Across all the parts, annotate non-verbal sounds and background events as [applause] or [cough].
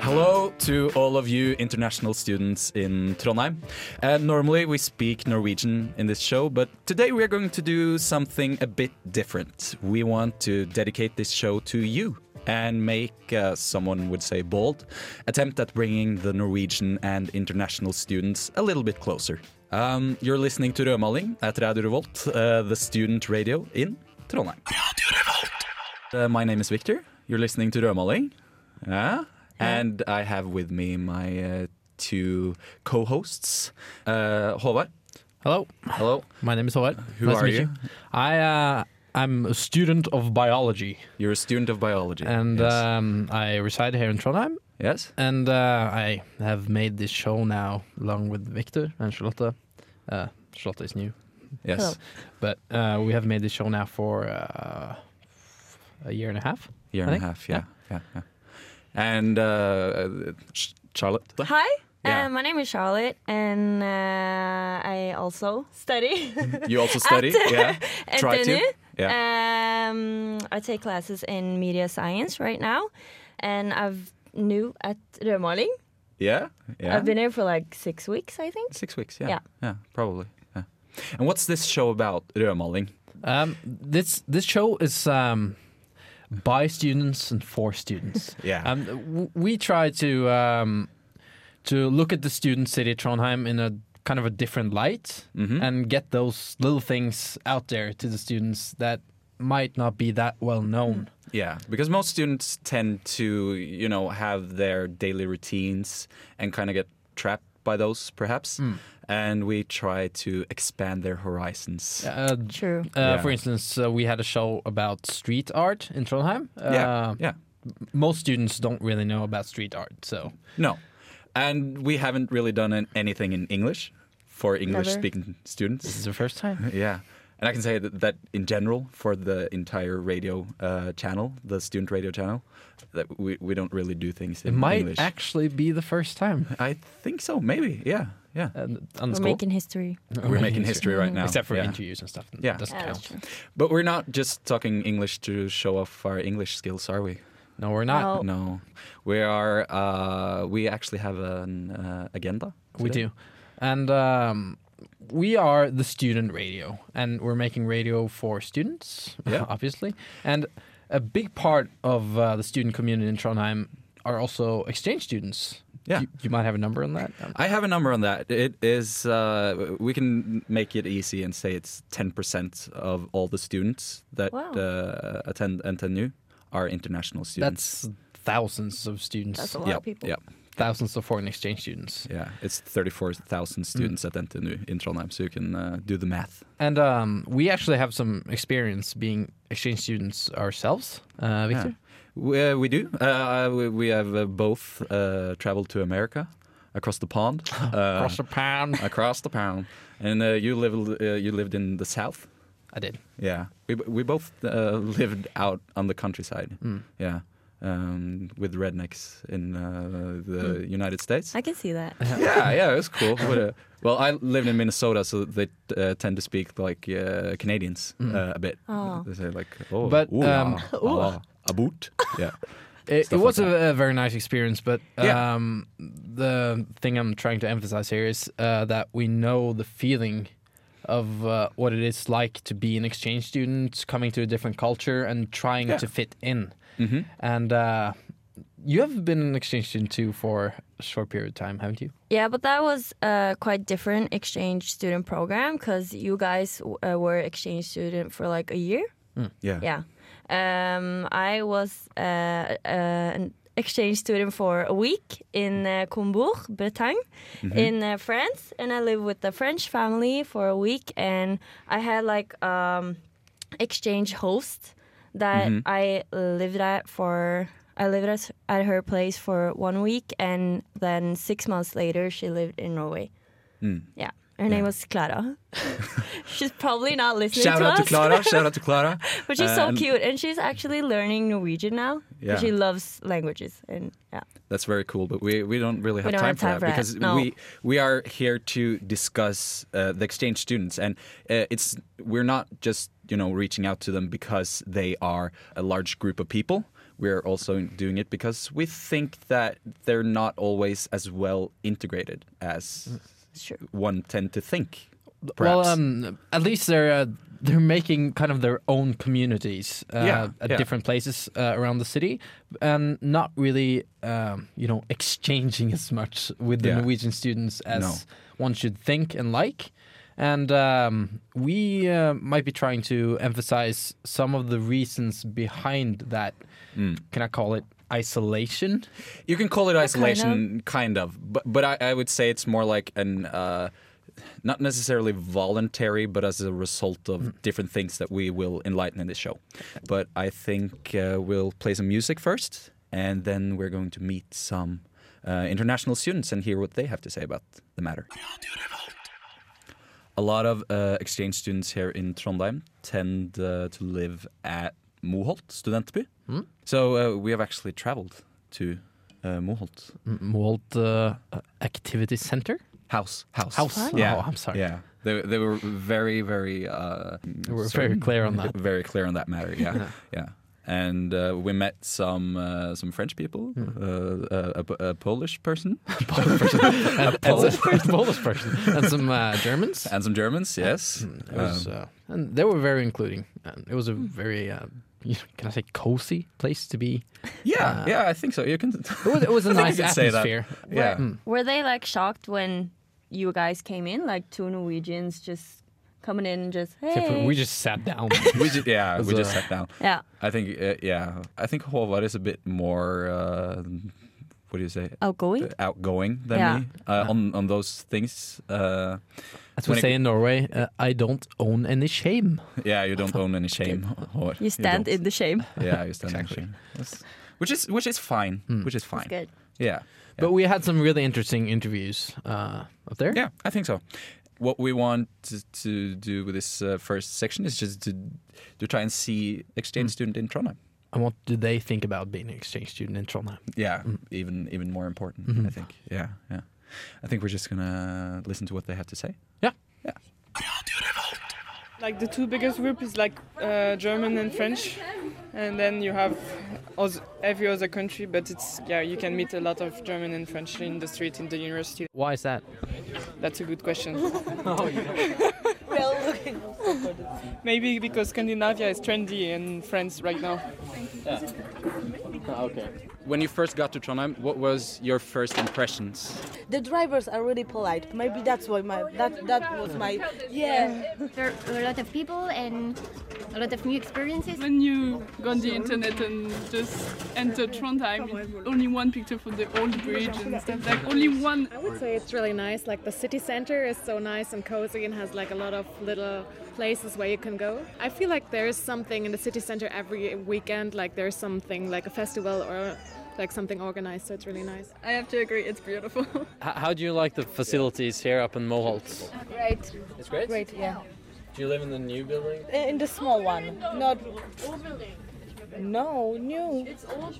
Hello to all of you international students in Trondheim. Uh, normally we speak Norwegian in this show, but today we are going to do something a bit different. We want to dedicate this show to you and make, uh, someone would say, bold attempt at bringing the Norwegian and international students a little bit closer. Um, you're listening to Rødmaling at Radio Revolt, uh, the student radio in Trondheim. Uh, my name is Victor. You're listening to Rødmaling. Yeah. And I have with me my uh, two co-hosts. Uh, Håvard, Hello, hello. my name is Håvard. Uh, Who nice are to meet you? you? I uh, I'm a student of biology, You're a student of biology. and yes. uh, um, I reside here in Trondheim. yes? And uh, I have made this show now, along with Victor and Charlotte. Uh, Charlotte is new, Yes. Hello. but uh, we have made this show now for uh, a year and a half. Year I and a think. half, yeah. yeah. yeah, And uh, Ch- Charlotte? Hi, Yeah. uh, my name is Charlotte, and uh, I also study [laughs] You also [laughs] study? yeah. at Try to? NTNU. Yeah. Um, I take classes in media science right now, and I've new at Rødmaling. Yeah. Yeah. I've been here for like six weeks, I think. Six weeks, yeah. Yeah, Yeah. probably. Yeah. And what's this show about, Rødmaling? Um, this this show is um, by students and for students. Yeah. Um, w- we try to um, to look at the student city Trondheim in a kind of a different light and get those little things out there to the students that might not be that well known. Yeah, because most students tend to, you know, have their daily routines and kind of get trapped by those, perhaps. Hmm. And we try to expand their horizons. Uh, True. uh, Yeah. For instance, uh, we had a show about street art in Trondheim. Uh, yeah, yeah. Most students don't really know about street art, so No, and we haven't really done an- anything in English for English-speaking this students. is the first time. Yeah, and I can say that, that in general for the entire radio uh, channel, the student radio channel, that we, we don't really do things in It might English. actually be the first time. I think so, maybe. Yeah, yeah. and Uh, on the We're school. [laughs] making history. We're making history right now, except for yeah. interviews and stuff. Yeah. doesn't Yeah, Oh, that's count. true. But we're not just talking English to show off our English skills, are we? No, we're not. No. Oh. No, we are. Uh, we actually have an uh, agenda. We today. do, and um, we are the student radio, and we're making radio for students, Yeah. [laughs] obviously. And a big part of uh, the student community in Trondheim are also exchange students. Yeah. you, you might have a number on that. Um, I have a number on that. It is. Uh, we can make it easy and say it's ten percent of all the students that Wow. uh, attend NTNU are international students. that's thousands of students, That's a lot yeah, of people. yeah, thousands of foreign exchange students. yeah. It's thirty-four thousand Mm. students at NTNU in Trondheim, so you can uh, do the math. And um, we actually have some experience being exchange students ourselves, uh, Victor. We, uh, we do. Uh, we, we have uh, both uh, traveled to America, across the pond, uh, Across the pound. across the pond, and uh, you lived uh, you lived in the south. I did. Yeah, we we both uh, lived out on the countryside. Yeah, um, with rednecks in uh, the United States. I can see [laughs] that. yeah, yeah, it was cool. But, uh, well, I lived in Minnesota, so they uh, tend to speak like uh, Canadians uh, a bit. Oh. They say like, oh, But, ooh, um, ah, ah, a boot. Yeah. It, it stuff was like a, a very nice experience, but Yeah. um, the thing I'm trying to emphasize here is uh, that we know the feeling of uh, what it is like to be an exchange student coming to a different culture and trying Yeah. to fit in. hmm And uh, you have been an exchange student too for a short period of time, haven't you? Yeah, but that was a quite different exchange student program because you guys uh, were exchange student for like a year. Yeah. Yeah. Um, I was uh, uh, an exchange student for a week in uh, Combourg, Bretagne, Mm-hmm. in uh, France. And I lived with a French family for a week. And I had like um, exchange host that Mm-hmm. I lived at for. I lived at, at her place for one week, and then six months later, she lived in Norway. Mm. Yeah, her name was Clara. [laughs] She's probably not listening Shout to out us. to Clara. Shout [laughs] out to Clara. But she's Uh, so and cute, and she's actually learning Norwegian now. 'cause Yeah. She loves languages, and yeah, That's very cool, but we, we don't really have don't time have for that time for that, because no. we we are here to discuss uh, the exchange students, and uh, it's we're not just you know reaching out to them because they are a large group of people. we're also doing it because we think that they're not always as well integrated as Sure. one tend to think. Perhaps. Mm. Well, um, at least they're uh, they're making kind of their own communities uh, Yeah, at yeah. different places uh, around the city, and not really um, you know [laughs] exchanging as much with the Yeah. Norwegian students as No. one should think and like. And um, we uh, might be trying to emphasize some of the reasons behind that. Mm. Can I call it isolation? You can call it kind isolation, kind of, but but I, I would say it's more like an uh, not necessarily voluntary, but as a result of different things that we will enlighten in this show. But I think uh, we'll play some music first, and then we're going to meet some uh, international students and hear what they have to say about the matter. A lot of uh, exchange students here in Trondheim tend uh, to live at Moholt studentby. So uh, we have actually traveled to uh, Moholt Mold uh, activity center house. House. house. Yeah. Oh, I'm sorry. Yeah. They, they were very very uh, We We're certain- very clear on [laughs] that. very clear on that matter. Yeah. yeah. And uh, we met some uh, some French people, Hmm. uh, a, a, a Polish [laughs] person, [laughs] and, Pole? and some, [laughs] Polish person and some uh, Germans. and some Germans. Yes. It Um, was, uh, and they were very including. And it was a very, uh, you know, can I say, cozy place to be. yeah. uh, yeah. I think so. You can. It was, it was a [laughs] I think you nice could say that. atmosphere. yeah. Were they like shocked when you guys came in? Like two Norwegians just coming in and just Except for hey. we just sat [laughs] down. We just, yeah. Hmm. was We just a- sat down. yeah. I think, uh, yeah, I think Håvard is a bit more, uh, what do you say, Outgoing. Uh, outgoing than Yeah. me uh, on on those things. Uh, As When we it- say in Norway, uh, I don't own any shame. yeah, you don't [laughs] own any shame. [laughs] Håvard. You stand don't. in the shame. Yeah, you stand Exactly. in shame. That's- which is which is fine. Which is fine. Hmm. That's good. Yeah. But we had some really interesting interviews uh, up there. Yeah, I think so. What we want to, to do with this uh, first section is just to to try and see exchange Hmm. student in Trondheim. And what do they think about being an exchange student in Trondheim? Yeah, Hmm. even even more important, I think. Yeah, yeah. I think we're just gonna listen to what they have to say. Yeah. Yeah. Like the two biggest group is like uh, German and French, and then you have oth- every other country. But it's yeah, you can meet a lot of German and French in the street in the university. Why is that? That's a good question. Maybe because Scandinavia is trendy in France right now. When you first got to Trondheim, what was your first impressions? The drivers are really polite. Maybe that's why my that that was my yeah. There were a lot of people and a lot of new experiences. When you go on the internet and just enter Trondheim, it's only one picture for the old bridge and stuff. Like only one. I would say it's really nice. Like the city center is so nice and cozy and has like a lot of little places where you can go. I feel like there is something in the city center every weekend. Like there's something like a festival or like something organized. So it's really nice. I have to agree, it's beautiful. how do you like the facilities here up in Moholt? Great, It's great. great, yeah. Do you live in the new building? In the small one, not. No, new. It's old.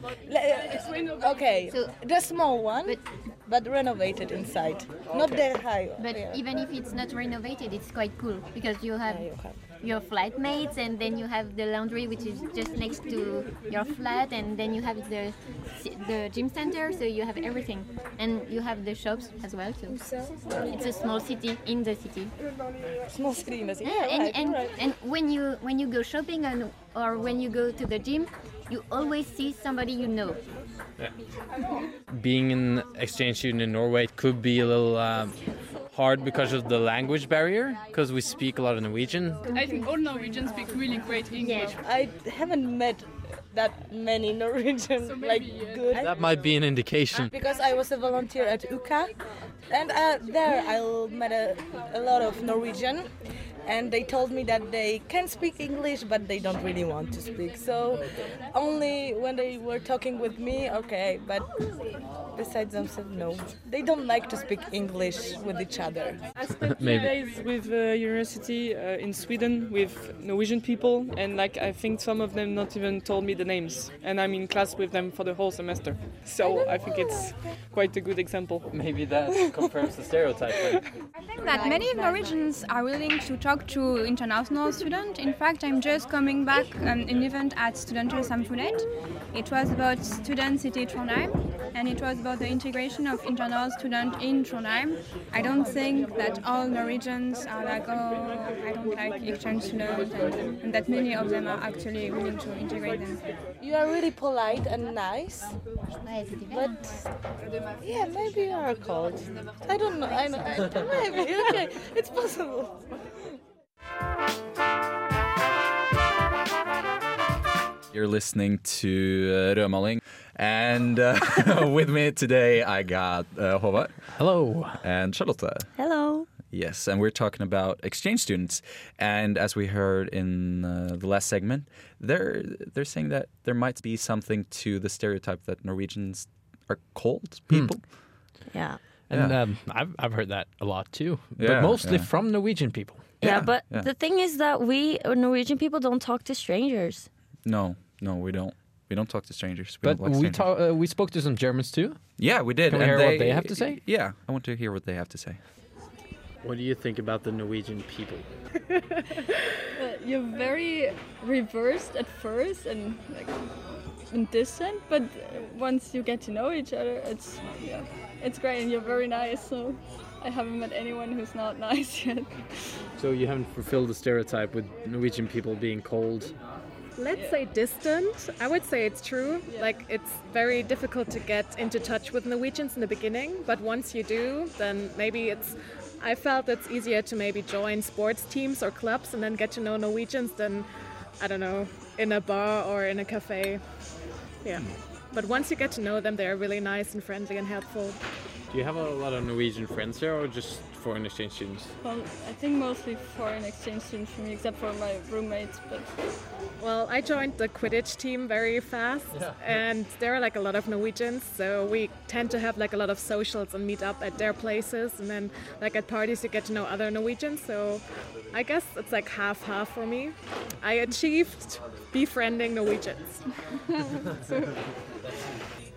Okay, So- the small one, but, But- renovated inside, not that high. But yeah. even if it's not renovated, it's quite cool because you have Yeah, you have- your flatmates and then you have the laundry which is just next to your flat and then you have the the gym center so you have everything and you have the shops as well too. It's a small city in the city. small city in the city. Yeah, and, right, and, right. and when you when you go shopping and or when you go to the gym, you always see somebody you know. being an exchange student in Norway, it could be a little um, hard because of the language barrier, because we speak a lot of Norwegian. I think all Norwegians speak really great English. I haven't met that many Norwegian maybe, like yeah. good. That might be an indication. because I was a volunteer at UCA, and uh, there I l- met a, a lot of Norwegian, and they told me that they can speak English, but they don't really want to speak. So only when they were talking with me, okay, but besides themselves, no, they don't like to speak English with each other. I spent two Maybe. days with uh, university uh, in Sweden with Norwegian people, and like I think some of them not even told me the names, and I'm in class with them for the whole semester. So I think it's quite a good example. Maybe that confirms the stereotype. that many Norwegians are willing to talk talk to international students. In fact, I'm just coming back um, an event at Studentes Samfulet. It was about student city Trondheim, and it was about the integration of international students in Trondheim. I don't think that all Norwegians are like, oh, I don't like exchange students, and, and that many of them are actually willing to integrate them. You are really polite and nice, but yeah, maybe you are cold. I don't know. I know. I, maybe okay, it's possible. You're listening to uh, Rødmaling. And uh, [laughs] with me today, I got uh, Håvard Hello. and Charlotte. Hello. Yes, and we're talking about exchange students. And as we heard in uh, the last segment, they're they're saying that there might be something to the stereotype that Norwegians are cold Hmm. people. Yeah. And Yeah. um, I've I've heard that a lot too, Yeah, but mostly yeah. from Norwegian people. Yeah, Yeah, but yeah. the thing is that we uh, Norwegian people don't talk to strangers. No, no, we don't. We don't talk to strangers. We But don't like we strangers. talk, uh, we spoke to some Germans too. Yeah, we did. Can we and hear what they have to say? Yeah, I want to hear what they have to say. What do you think about the Norwegian people? you're very reversed at first and like and distant, but once you get to know each other, it's yeah, it's great and you're very nice. So I haven't met anyone who's not [laughs] nice yet. So you haven't fulfilled the stereotype with Norwegian people being cold. Let's say distant. I would say it's true. Like it's very difficult to get into touch with Norwegians in the beginning, but once you do, then maybe it's. I felt it's easier to maybe join sports teams or clubs and then get to know Norwegians than, I don't know, in a bar or in a cafe. Yeah. But once you get to know them, they're really nice and friendly and helpful. Do you have a lot of Norwegian friends here, or just foreign exchange students? Well, I think mostly foreign exchange students for me, except for my roommates. But Well, I joined the Quidditch team very fast, and there are like a lot of Norwegians, so we tend to have like a lot of socials and meet up at their places, and then like at parties you get to know other Norwegians. So I guess it's like half half for me. I achieved befriending Norwegians.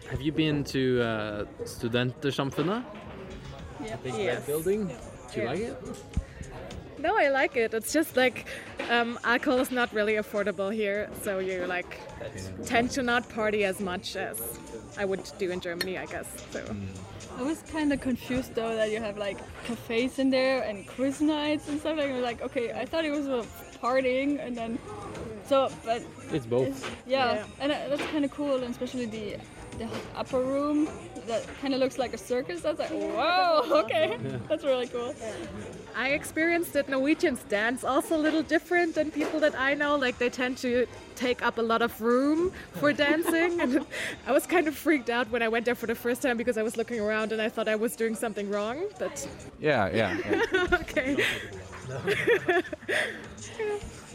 Have you been to uh, Studentersamfunnet? Yeah. Big Yes. red building. Do you Yeah. like it? No, I like it. It's just like um, alcohol is not really affordable here, so you like tend to not party as much as I would do in Germany, I guess. So. I was kind of confused though that you have like cafes in there and quiz nights and stuff like. I was like, okay, I thought it was uh, partying, and then so, but It's both. It's- yeah, Yeah. and uh, that's kind of cool, and especially the the upper room that kind of looks like a circus. That's like, whoa, [laughs] okay, that's really cool. I experienced that Norwegians dance also a little different than people that I know. Like they tend to take up a lot of room for dancing. [laughs] and I was kind of freaked out when I went there for the first time because I was looking around and I thought I was doing something wrong. But [laughs] Yeah, yeah. [laughs] yeah. okay.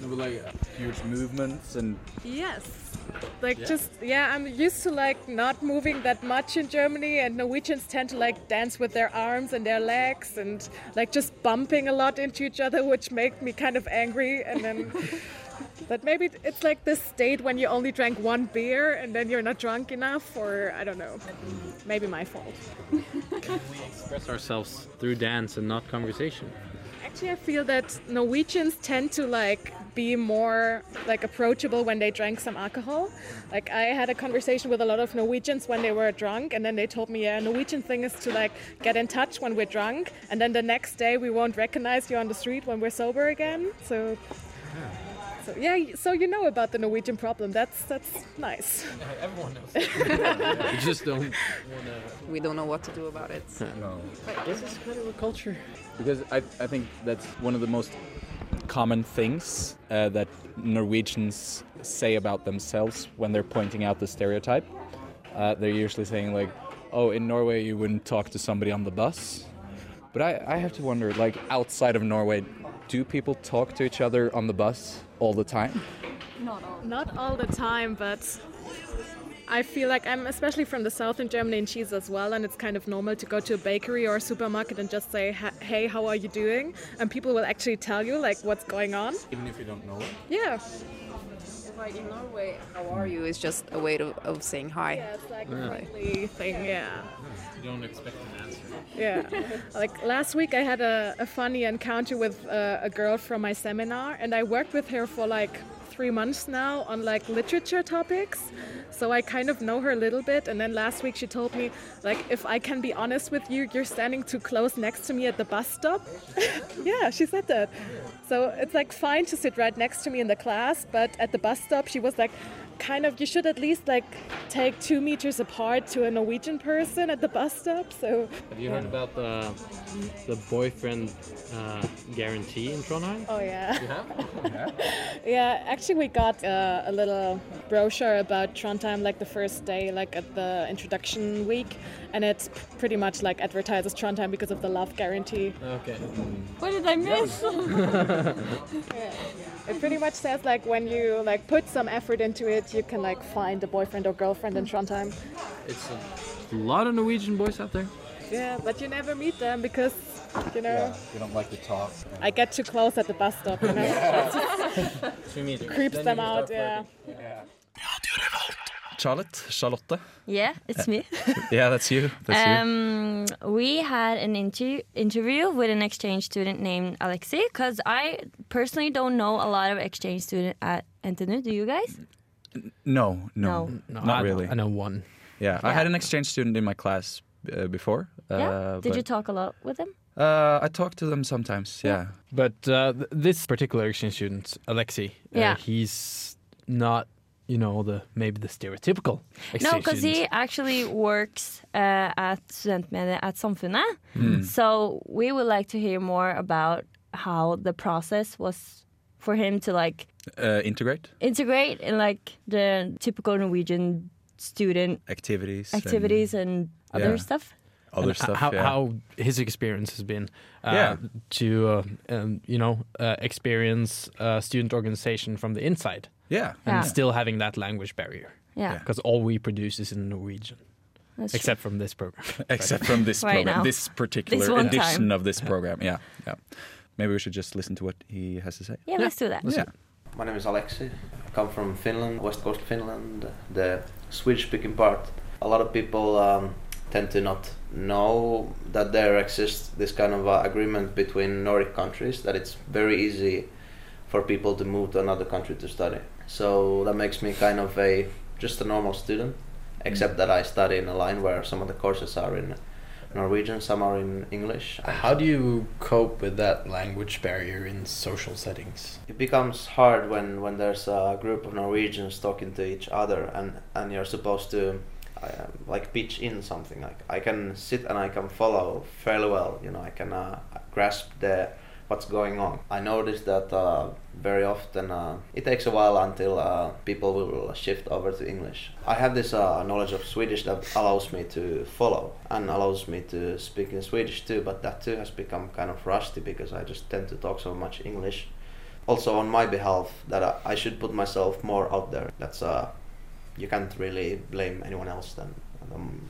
there were like huge movements and Yes. Like just yeah, I'm used to like not moving that much in Germany and Norwegians tend to like dance with their arms and their legs and like just bumping a lot into each other which make me kind of angry and then but maybe it's like this state when you only drank one beer and then you're not drunk enough or I don't know. Maybe my fault. Express ourselves through dance and not conversation. Actually, I feel that Norwegians tend to like be more like approachable when they drank some alcohol. Like I had a conversation with a lot of Norwegians when they were drunk, and then they told me, "Yeah, Norwegian thing is to like get in touch when we're drunk, and then the next day we won't recognize you on the street when we're sober again." So. So, yeah, so you know about the Norwegian problem. That's that's nice. Everyone knows. you just don't. We don't know what to do about it. This is kind of a culture. because I, I think that's one of the most common things uh, that Norwegians say about themselves when they're pointing out the stereotype. Uh, they're usually saying like, "Oh, in Norway you wouldn't talk to somebody on the bus," but I, I have to wonder like outside of Norway, do people talk to each other on the bus all the time? Not all. Not all the time, but I feel like I'm especially from the south in Germany and cheese as well, and it's kind of normal to go to a bakery or a supermarket and just say, "Ha- "Hey, how are you doing?" And people will actually tell you like what's going on. Even if you don't know it. Yeah. It like in Norway, how Are you is just a way to, of saying hi. Yeah, it's like Yeah. a friendly thing. Yeah. You don't expect an answer. Yeah. like last week, I had a, a funny encounter with uh, a girl from my seminar, and I worked with her for like three months now on like literature topics. So I kind of know her a little bit. And then last week, she told me, like, if I can be honest with you, you're standing too close next to me at the bus stop. [laughs] yeah, she said that. So it's like fine to sit right next to me in the class, but at the bus stop, she was like, kind of you should at least like take two meters apart to a norwegian person at the bus stop so Have you heard about the the boyfriend uh, guarantee in Trondheim? Oh, yeah. You [laughs] have? Yeah, actually, we got uh, a little brochure about Trondheim like the first day, like at the introduction week, and it's p- pretty much like advertises Trondheim because of the love guarantee. Okay. What did I miss? [laughs] it pretty much says like when you like put some effort into it, you can like find a boyfriend or girlfriend in Trondheim. It's a lot of Norwegian boys out there. Yeah, but you never meet them because you know we don't like to talk. I get too close at the bus stop. You know, Two meters. creeps them out. Yeah. Charlotte? Charlotte? Yeah, it's Uh, me. Yeah, that's you. That's you. Um, we had an inter- interview with an exchange student named Alexei because I personally don't know a lot of exchange student at NTNU. Do you guys? No, no, No. No, not I know- really. I know one. Yeah, I had an exchange student in my class uh, before. yeah. Uh, Did you but- talk a lot with them? Uh, I talk to them sometimes. Yeah. But uh, th- this particular exchange student, Alexei, uh, Yeah. he's not, you know, the maybe the stereotypical exchange no, because he student. actually works uh, at Studentmediet at Samfunnet. Hmm. So we would like to hear more about how the process was for him to like Uh, integrate integrate in like the typical Norwegian student activities. and activities and, Yeah. other stuff. Other And h- stuff. How, yeah. how his experience has been uh, Yeah. to, uh, um, you know, uh, experience uh, student organization from the inside. Yeah. And Yeah. still having that language barrier. Yeah. Yeah. Because all we produce is in Norwegian. That's true. except from this [laughs] program. [laughs] Except from this Right program, now. this particular This one edition time. of this program. Yeah. Yeah. Maybe we should just listen to what he has to say. Yeah, let's do that. Yeah. My name is Alexi. I come from Finland, West Coast Finland, the Swedish-speaking part. A lot of people um, tend to not know that there exists this kind of uh, agreement between Nordic countries that it's very easy for people to move to another country to study. So that makes me kind of a just a normal student, except that I study in a line where some of the courses are in Norwegian, some are in English. How do you cope with that language barrier in social settings? it becomes hard when, when there's a group of Norwegians talking to each other and, and you're supposed to uh, like pitch in something like I can sit and I can follow fairly well you know I can uh, grasp the what's going on I noticed that uh, very often uh, it takes a while until uh, people will shift over to English I have this uh, knowledge of Swedish that allows me to follow and allows me to speak in Swedish too but that too has become kind of rusty because I just tend to talk so much English also on my behalf that I, I should put myself more out there. That's uh, you can't really blame anyone else than, than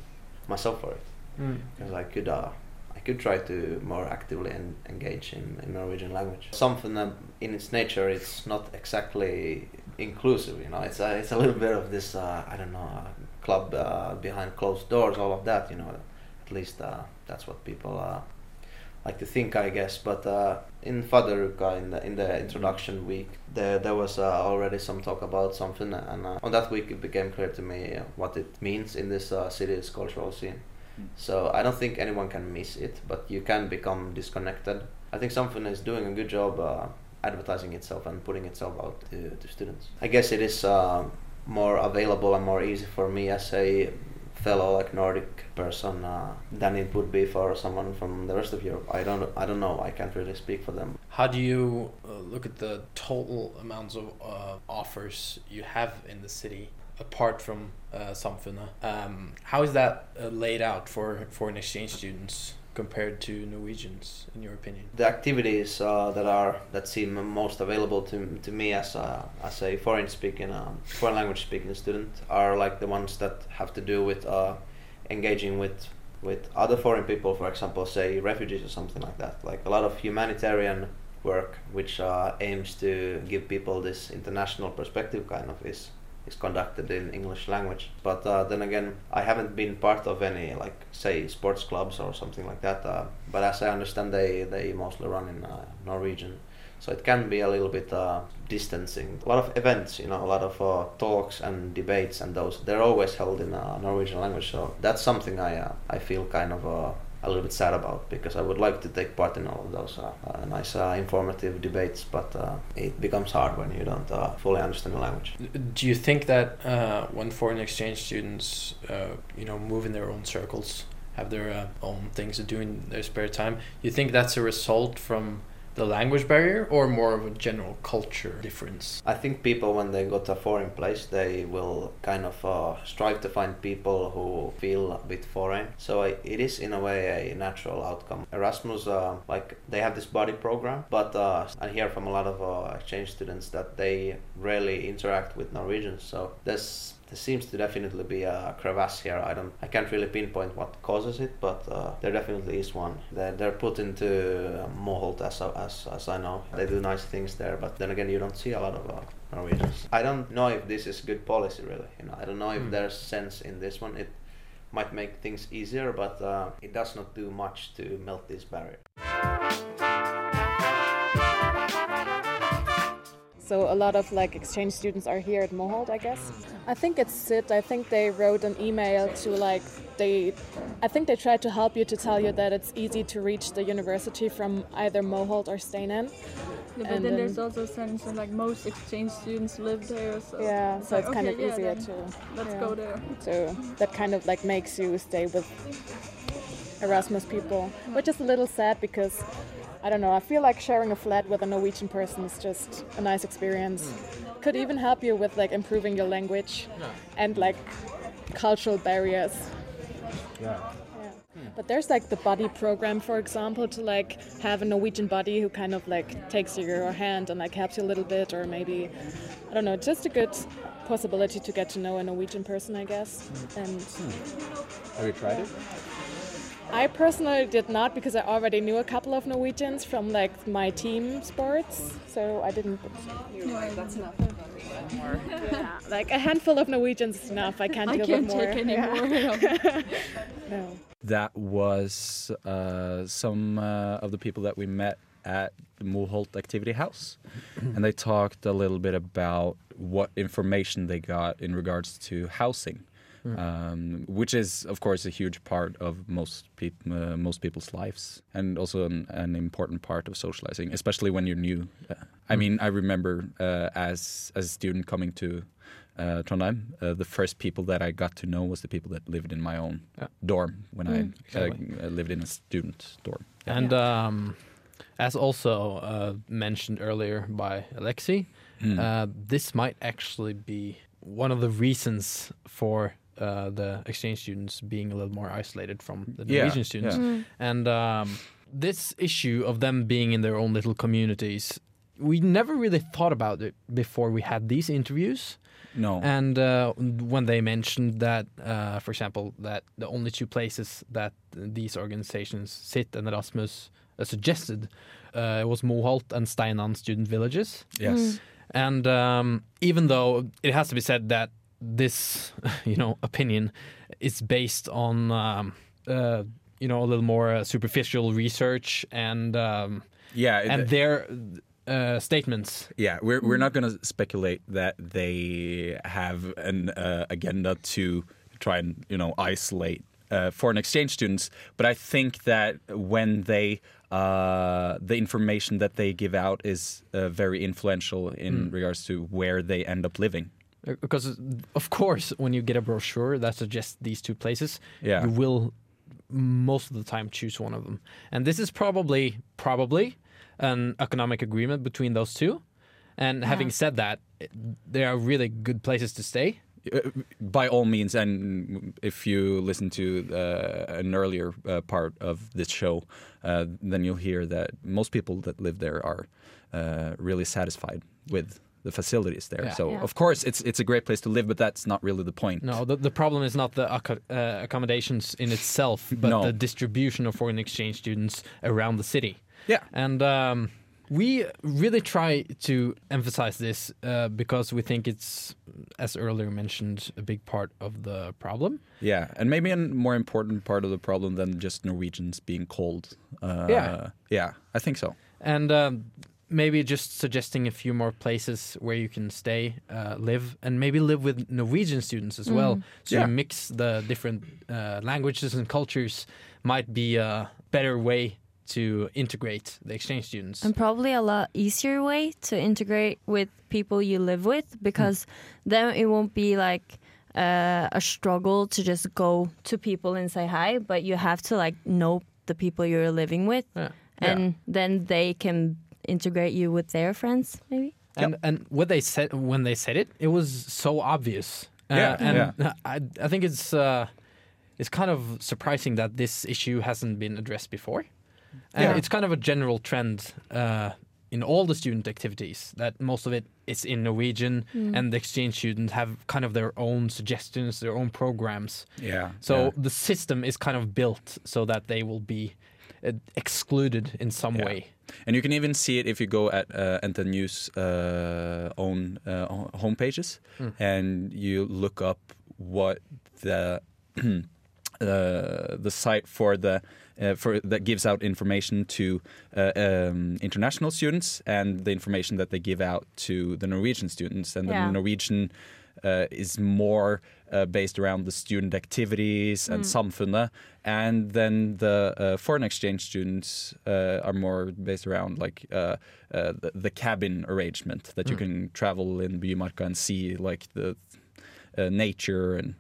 myself for it Mm. because I could uh, I could try to more actively en- engage in, in Norwegian language. Something that in its nature it's not exactly inclusive. You know, it's a it's a little bit of this uh, I don't know uh, club uh, behind closed doors, all of that. You know, at least uh, that's what people uh, like to think, I guess. But uh, in Fadaruka, in the in the introduction week, there there was uh, already some talk about something, and uh, on that week it became clear to me uh, what it means in this uh, city's cultural scene. So I don't think anyone can miss it, but you can become disconnected. I think something is doing a good job uh, advertising itself and putting itself out to, to students. I guess it is uh, more available and more easy for me as a fellow like Nordic person uh, than it would be for someone from the rest of Europe. I don't I don't know. I can't really speak for them. How do you uh, look at the total amounts of uh, offers you have in the city apart from uh, Samfunnet? Um, how is that uh, laid out for foreign exchange students compared to Norwegians, in your opinion? the activities uh, that are that seem most available to, to me as a, as a foreign speaking um, foreign language speaking student are like the ones that have to do with uh, engaging with with other foreign people for example say refugees or something like that like a lot of humanitarian work, which uh, aims to give people this international perspective, kind of is is conducted in English language. But uh, then again, I haven't been part of any like say sports clubs or something like that. Uh, but as I understand, they they mostly run in uh, Norwegian. So it can be a little bit uh, distancing. A lot of events, you know, a lot of uh, talks and debates and those. They're always held in uh, Norwegian language. So that's something I uh, I feel kind of uh, a little bit sad about because I would like to take part in all of those uh, uh, nice uh, informative debates, but uh, it becomes hard when you don't uh, fully understand the language. Do you think that uh, when foreign exchange students, uh, you know, move in their own circles, have their uh, own things to do in their spare time, you think that's a result from the language barrier or more of a general culture difference? I think people, when they go to a foreign place, they will kind of uh, strive to find people who feel a bit foreign. So I, it is, in a way, a natural outcome. Erasmus, uh, like, they have this body program, but uh, I hear from a lot of uh, exchange students that they rarely interact with Norwegians. So there's there seems to definitely be a crevasse here. I don't, I can't really pinpoint what causes it, but uh, there definitely is one. They're, they're put into uh, Moholt as, I- as as I know. They do nice things there, but then again, you don't see a lot of uh, Norwegians. I don't know if this is good policy, really. You know, I don't know if Hmm. there's sense in this one. It might make things easier, but uh, it does not do much to melt this barrier. So a lot of like exchange students are here at Moholt, I guess. I think it's Sid. I think they wrote an email to like they. I think they tried to help you to tell you that it's easy to reach the university from either Moholt or Stenen. Yeah, but And then there's also a sense of like most exchange students live there, so yeah, so like, it's kind okay, of yeah, easier then to. Let's yeah. go there. So that kind of like makes you stay with Erasmus people, which is a little sad because I don't know. I feel like sharing a flat with a Norwegian person is just a nice experience. Could even help you with like improving your language Hmm. Yeah. and like cultural barriers. Yeah. Hmm. But there's like the buddy program, for example, to like have a Norwegian buddy who kind of like takes your hand and like helps you a little bit, or maybe I don't know, just a good possibility to get to know a Norwegian person, I guess. And Have you tried it? I personally did not because I already knew a couple of Norwegians from like my team sports, so I didn't. that's enough. [laughs] Yeah, like a handful of Norwegians is enough. I can't I deal can't with more. take any [laughs] anymore. [laughs] no. That was uh, some uh, of the people that we met at the Moholt Activity House. and they talked a little bit about what information they got in regards to housing, Mm. um, which is, of course, a huge part of most, peop uh, most people's lives and also an, an important part of socializing, especially when you're new. Uh, Hmm. I mean, I remember uh, as, as a student coming to uh, Trondheim, uh, the first people that I got to know was the people that lived in my own dorm when Mm. I uh, Exactly. uh, lived in a student dorm. And um, as also uh, mentioned earlier by Alexi, Hmm. uh, this might actually be one of the reasons for uh, the exchange students being a little more isolated from the Yeah, Norwegian students. yeah. Mm. And um, this issue of them being in their own little communities, we never really thought about it before we had these interviews. No. And uh, when they mentioned that, uh, for example, that the only two places that these organizations sit and Erasmus uh, suggested uh, was Moholt and Steinan student villages. Yes. Mm. And um, even though it has to be said that this, [laughs] you know, opinion is based on, um, uh, you know, a little more uh, superficial research and um, Yeah, it- and their uh, statements. Yeah, we're we're not going to speculate that they have an uh, agenda to try and you know isolate uh, foreign exchange students. But I think that when they uh, the information that they give out is uh, very influential in Mm. regards to where they end up living. because Uh, of course when you get a brochure that suggests these two places Yeah. you will most of the time choose one of them and this is probably probably an economic agreement between those two and having said that it- they are really good places to stay Uh, By all means, and if you listen to uh, an earlier uh, part of this show, uh, then you'll hear that most people that live there are uh, really satisfied with the facilities there. Yeah. So, Yeah. of course, it's it's a great place to live, but that's not really the point. no the, the problem is not the acco- uh, accommodations in itself but No. the distribution of foreign exchange students around the city yeah and um, We really try to emphasize this uh, because we think it's, as earlier mentioned, a big part of the problem. Yeah, and maybe a more important part of the problem than just Norwegians being cold. Uh, Yeah. yeah, I think so. And um, maybe just suggesting a few more places where you can stay, uh, live, and maybe live with Norwegian students as well. Mm. So Yeah. you mix the different uh, languages and cultures might be a better way to integrate the exchange students. And probably a lot easier way to integrate with people you live with because then it won't be like uh, a struggle to just go to people and say hi, but you have to like know the people you're living with, and then they can integrate you with their frids, maybe. And and what they said when they said it, it was so obvious. Uh, Yeah, and I I think it's uh, it's kind of surprising that this issue hasn't been addressed before. And Yeah. it's kind of a general trend uh, in all the student activities that most of it is in Norwegian, Mm. and the exchange students have kind of their own suggestions, their own programs. Yeah, So yeah. the system is kind of built so that they will be uh, excluded in some way. And you can even see it if you go at uh, Enten News uh, own uh, ho- homepages Mm. and you look up what the [clears throat] uh, the site for the uh, for that gives out information to uh, um, international students and the information that they give out to the Norwegian students and Yeah. the Norwegian. Uh, is more uh, based around the student activities and Mm. some samfunnet, and then the uh, foreign exchange students uh, are more based around like uh, uh, the, the cabin arrangement that you Mm. can travel in Bymarka and see like the uh, nature and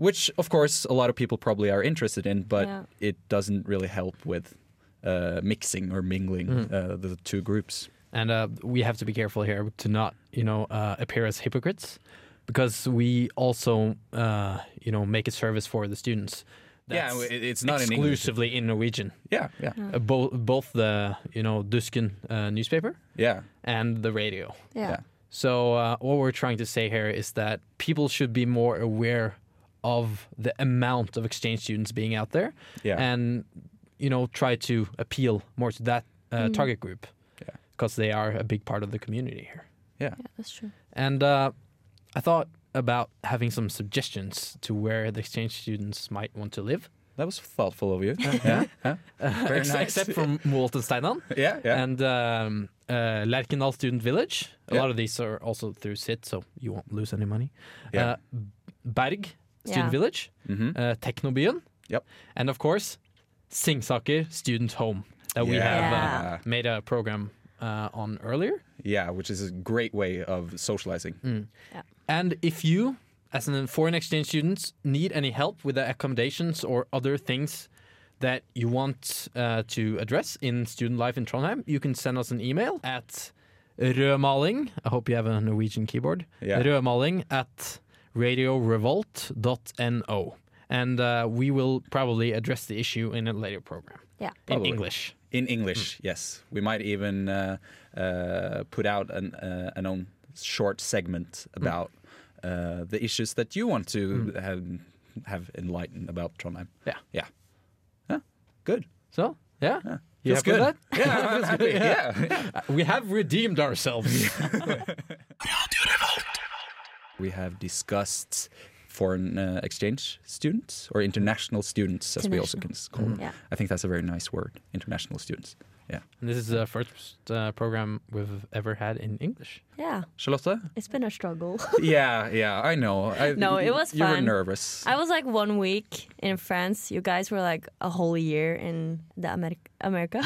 which of course a lot of people probably are interested in, but Yeah. it doesn't really help with uh, mixing or mingling Mm. uh, the two groups. and uh, we have to be careful here to not you know uh, appear as hypocrites because we also uh, you know make a service for the students Yeah, that's it- it's not in English. exclusively in, Norwegian. Yeah, yeah. Uh, both both the you know Dusken uh, newspaper, yeah, and the radio. Yeah. Yeah. So uh, what we're trying to say here is that people should be more aware of the amount of exchange students being out there, Yeah. and you know try to appeal more to that uh, Mm. target group, yeah, because they are a big part of the community here. Yeah. That's true. And uh, I thought about having some suggestions to where the exchange students might want to live. That was thoughtful of you. [laughs] yeah, yeah. Very Ex- nice. Except for Moholt and Steinan. [laughs] Yeah, yeah. And um, uh, Lerkendal Student Village. A Yeah. lot of these are also through SIT, so you won't lose any money. Yeah. Mm-hmm. Uh, B- Berg Student Yeah. Village. Uh, Teknobyen. Yep. And of course, Singsaker Student Home that we Yeah. have Yeah. uh, made a program uh, on earlier. yeah, which is a great way of socializing. Mm. And if you, as an foreign exchange student, need any help with the accommodations or other things that you want uh, to address in student life in Trondheim, you can send us an email at rødmaling. I hope you have a Norwegian keyboard. Yeah. Rødmaling at radiorevolt.no. And uh, we will probably address the issue in a later program. Yeah. Probably. In English. In Mm. English, yes. We might even uh, uh, put out an, uh, an own short segment Mm. about uh, the issues that you want to have, have enlightened about Trondheim. Yeah. Yeah. Yeah. Good. So, yeah. You Feels happy with good. that? Yeah, I'm Feels happy. good, Yeah. Uh, [laughs] We have redeemed ourselves. We have discussed foreign uh, exchange students or international students, as we also can s- Mm-hmm. call them. International. Mm. I think that's a very nice word, international students. Yeah. And this is the first uh, program we've ever had in [laughs] English. Yeah, [laughs] Charlotte? it's been a struggle. yeah, yeah, I know. I, No, it was You were fun. nervous. I was like one week in France. You guys were like a whole year in the Ameri- America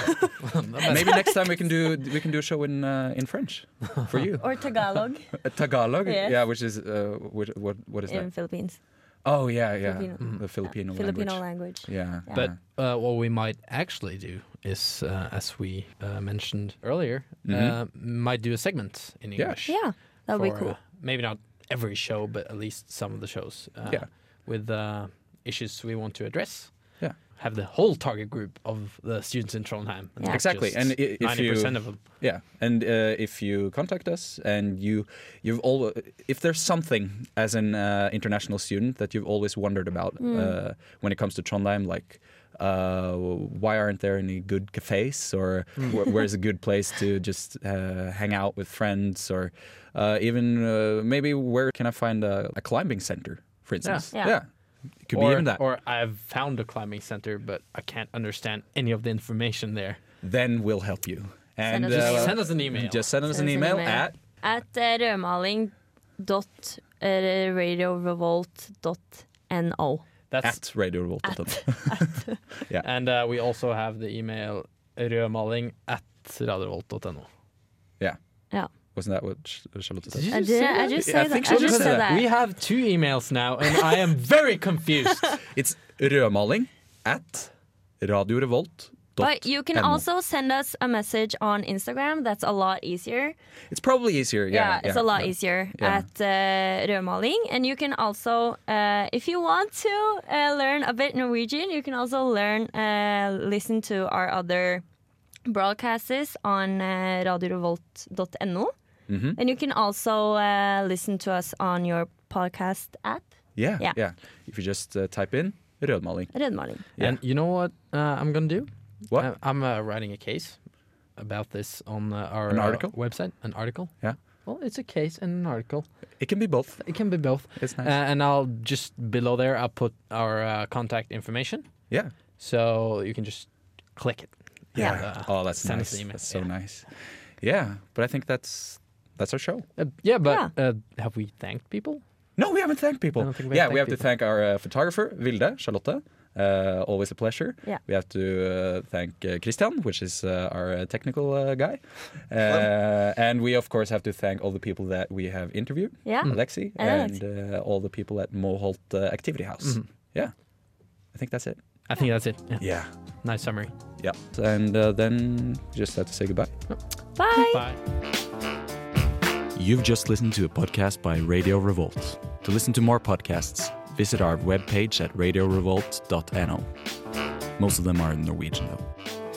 Maybe next time we [laughs] can do we can do a show in uh, in French for you. or Tagalog Uh, Tagalog, Yes. yeah, which is uh, which, what what is in that? Philippines. Oh yeah, yeah, Filipino. the Filipino, Filipino language. language. Yeah, yeah. But uh, what we might actually do is, uh, as we uh, mentioned earlier, uh, Mhm. might do a segment in Yeah. English. Yeah, that would be for, cool. uh, maybe not every show, but at least some of the shows. Uh, Yeah. With uh, issues we want to address. Yeah. have the whole target group of the students in Trondheim. and not Exactly, just and i- if 90% you, of them. yeah, and uh, if you contact us and you, you've all, if there's something as an uh, international student that you've always wondered about Hmm. Mm. uh, when it comes to Trondheim, like uh, why aren't there any good cafes, or Hmm. Mm. wh- where's a good place to just uh, hang out with friends, or uh, even uh, maybe where can I find a, a climbing center, for instance? Yeah. It could or, be even that. Or I've found a climbing center, but I can't understand any of the information there. Then we'll help you. uh, Send us an email. Send us an email. Just Send send us an us an email email. at At uh, rødmaling dot uh, radiorevolt dot no. at radiorevolt.no. yeah. And uh, we also have the email rødmaling at radiovolt.no. [laughs] Yeah. Yeah. Wasn't that what er Sh- Charlotte said? you I just did- say I that? just said that- I just said that. We have two emails now, and I am very [laughs] confused. It's rødmaling at radiorevolt.no. But you can also send us a message on Instagram. That's a lot easier. It's probably easier. Yeah, yeah, it's a lot yeah. easier Yeah. at uh, Rødmaling. And you can also, uh, if you want to uh, learn a bit Norwegian, you can also learn, uh, listen to our other broadcasts on uh, radiorevolt.no. Mhm. And you can also uh, listen to us on your podcast app, Yeah, Yeah. yeah, If you just uh, type in rødmaling. Rødmaling. Yeah. And you know what uh, I'm gonna do? What? Oh. I- I'm uh, writing a case about this on uh, our An uh, article? website. An article. Yeah. Well, it's a case and an article. It can be both. It can be both. It's Uh, nice. and I'll just below there. I'll put our uh, contact information. Yeah. So you can just click it. yeah. And, uh, oh, that's send us nice. an email. That's so nice. Yeah, but I think that's that's our show. Uh, yeah, but uh, have we thanked people? No, we haven't thanked people. I don't think we yeah, have we have thanked to thank our uh, photographer, Vilde, Charlotte. Uh, always a pleasure. Yeah. We have to uh, thank uh, Christian, which is uh, our uh, technical uh, guy. Uh, and we, of course, have to thank all the people that we have interviewed. Mm-hmm. Yeah. Mm. Alexi And and, uh, all the people at Moholt uh, Activity House. Mhm. Yeah. I think that's it. I think that's it. Yeah. Yeah. Nice summary. Yeah. And uh, then just have to say goodbye. Bye. Bye. You've just listened to a podcast by Radio Revolt. To listen to more podcasts, visit our webpage at radiorevolt.no. Most of them are in Norwegian, though.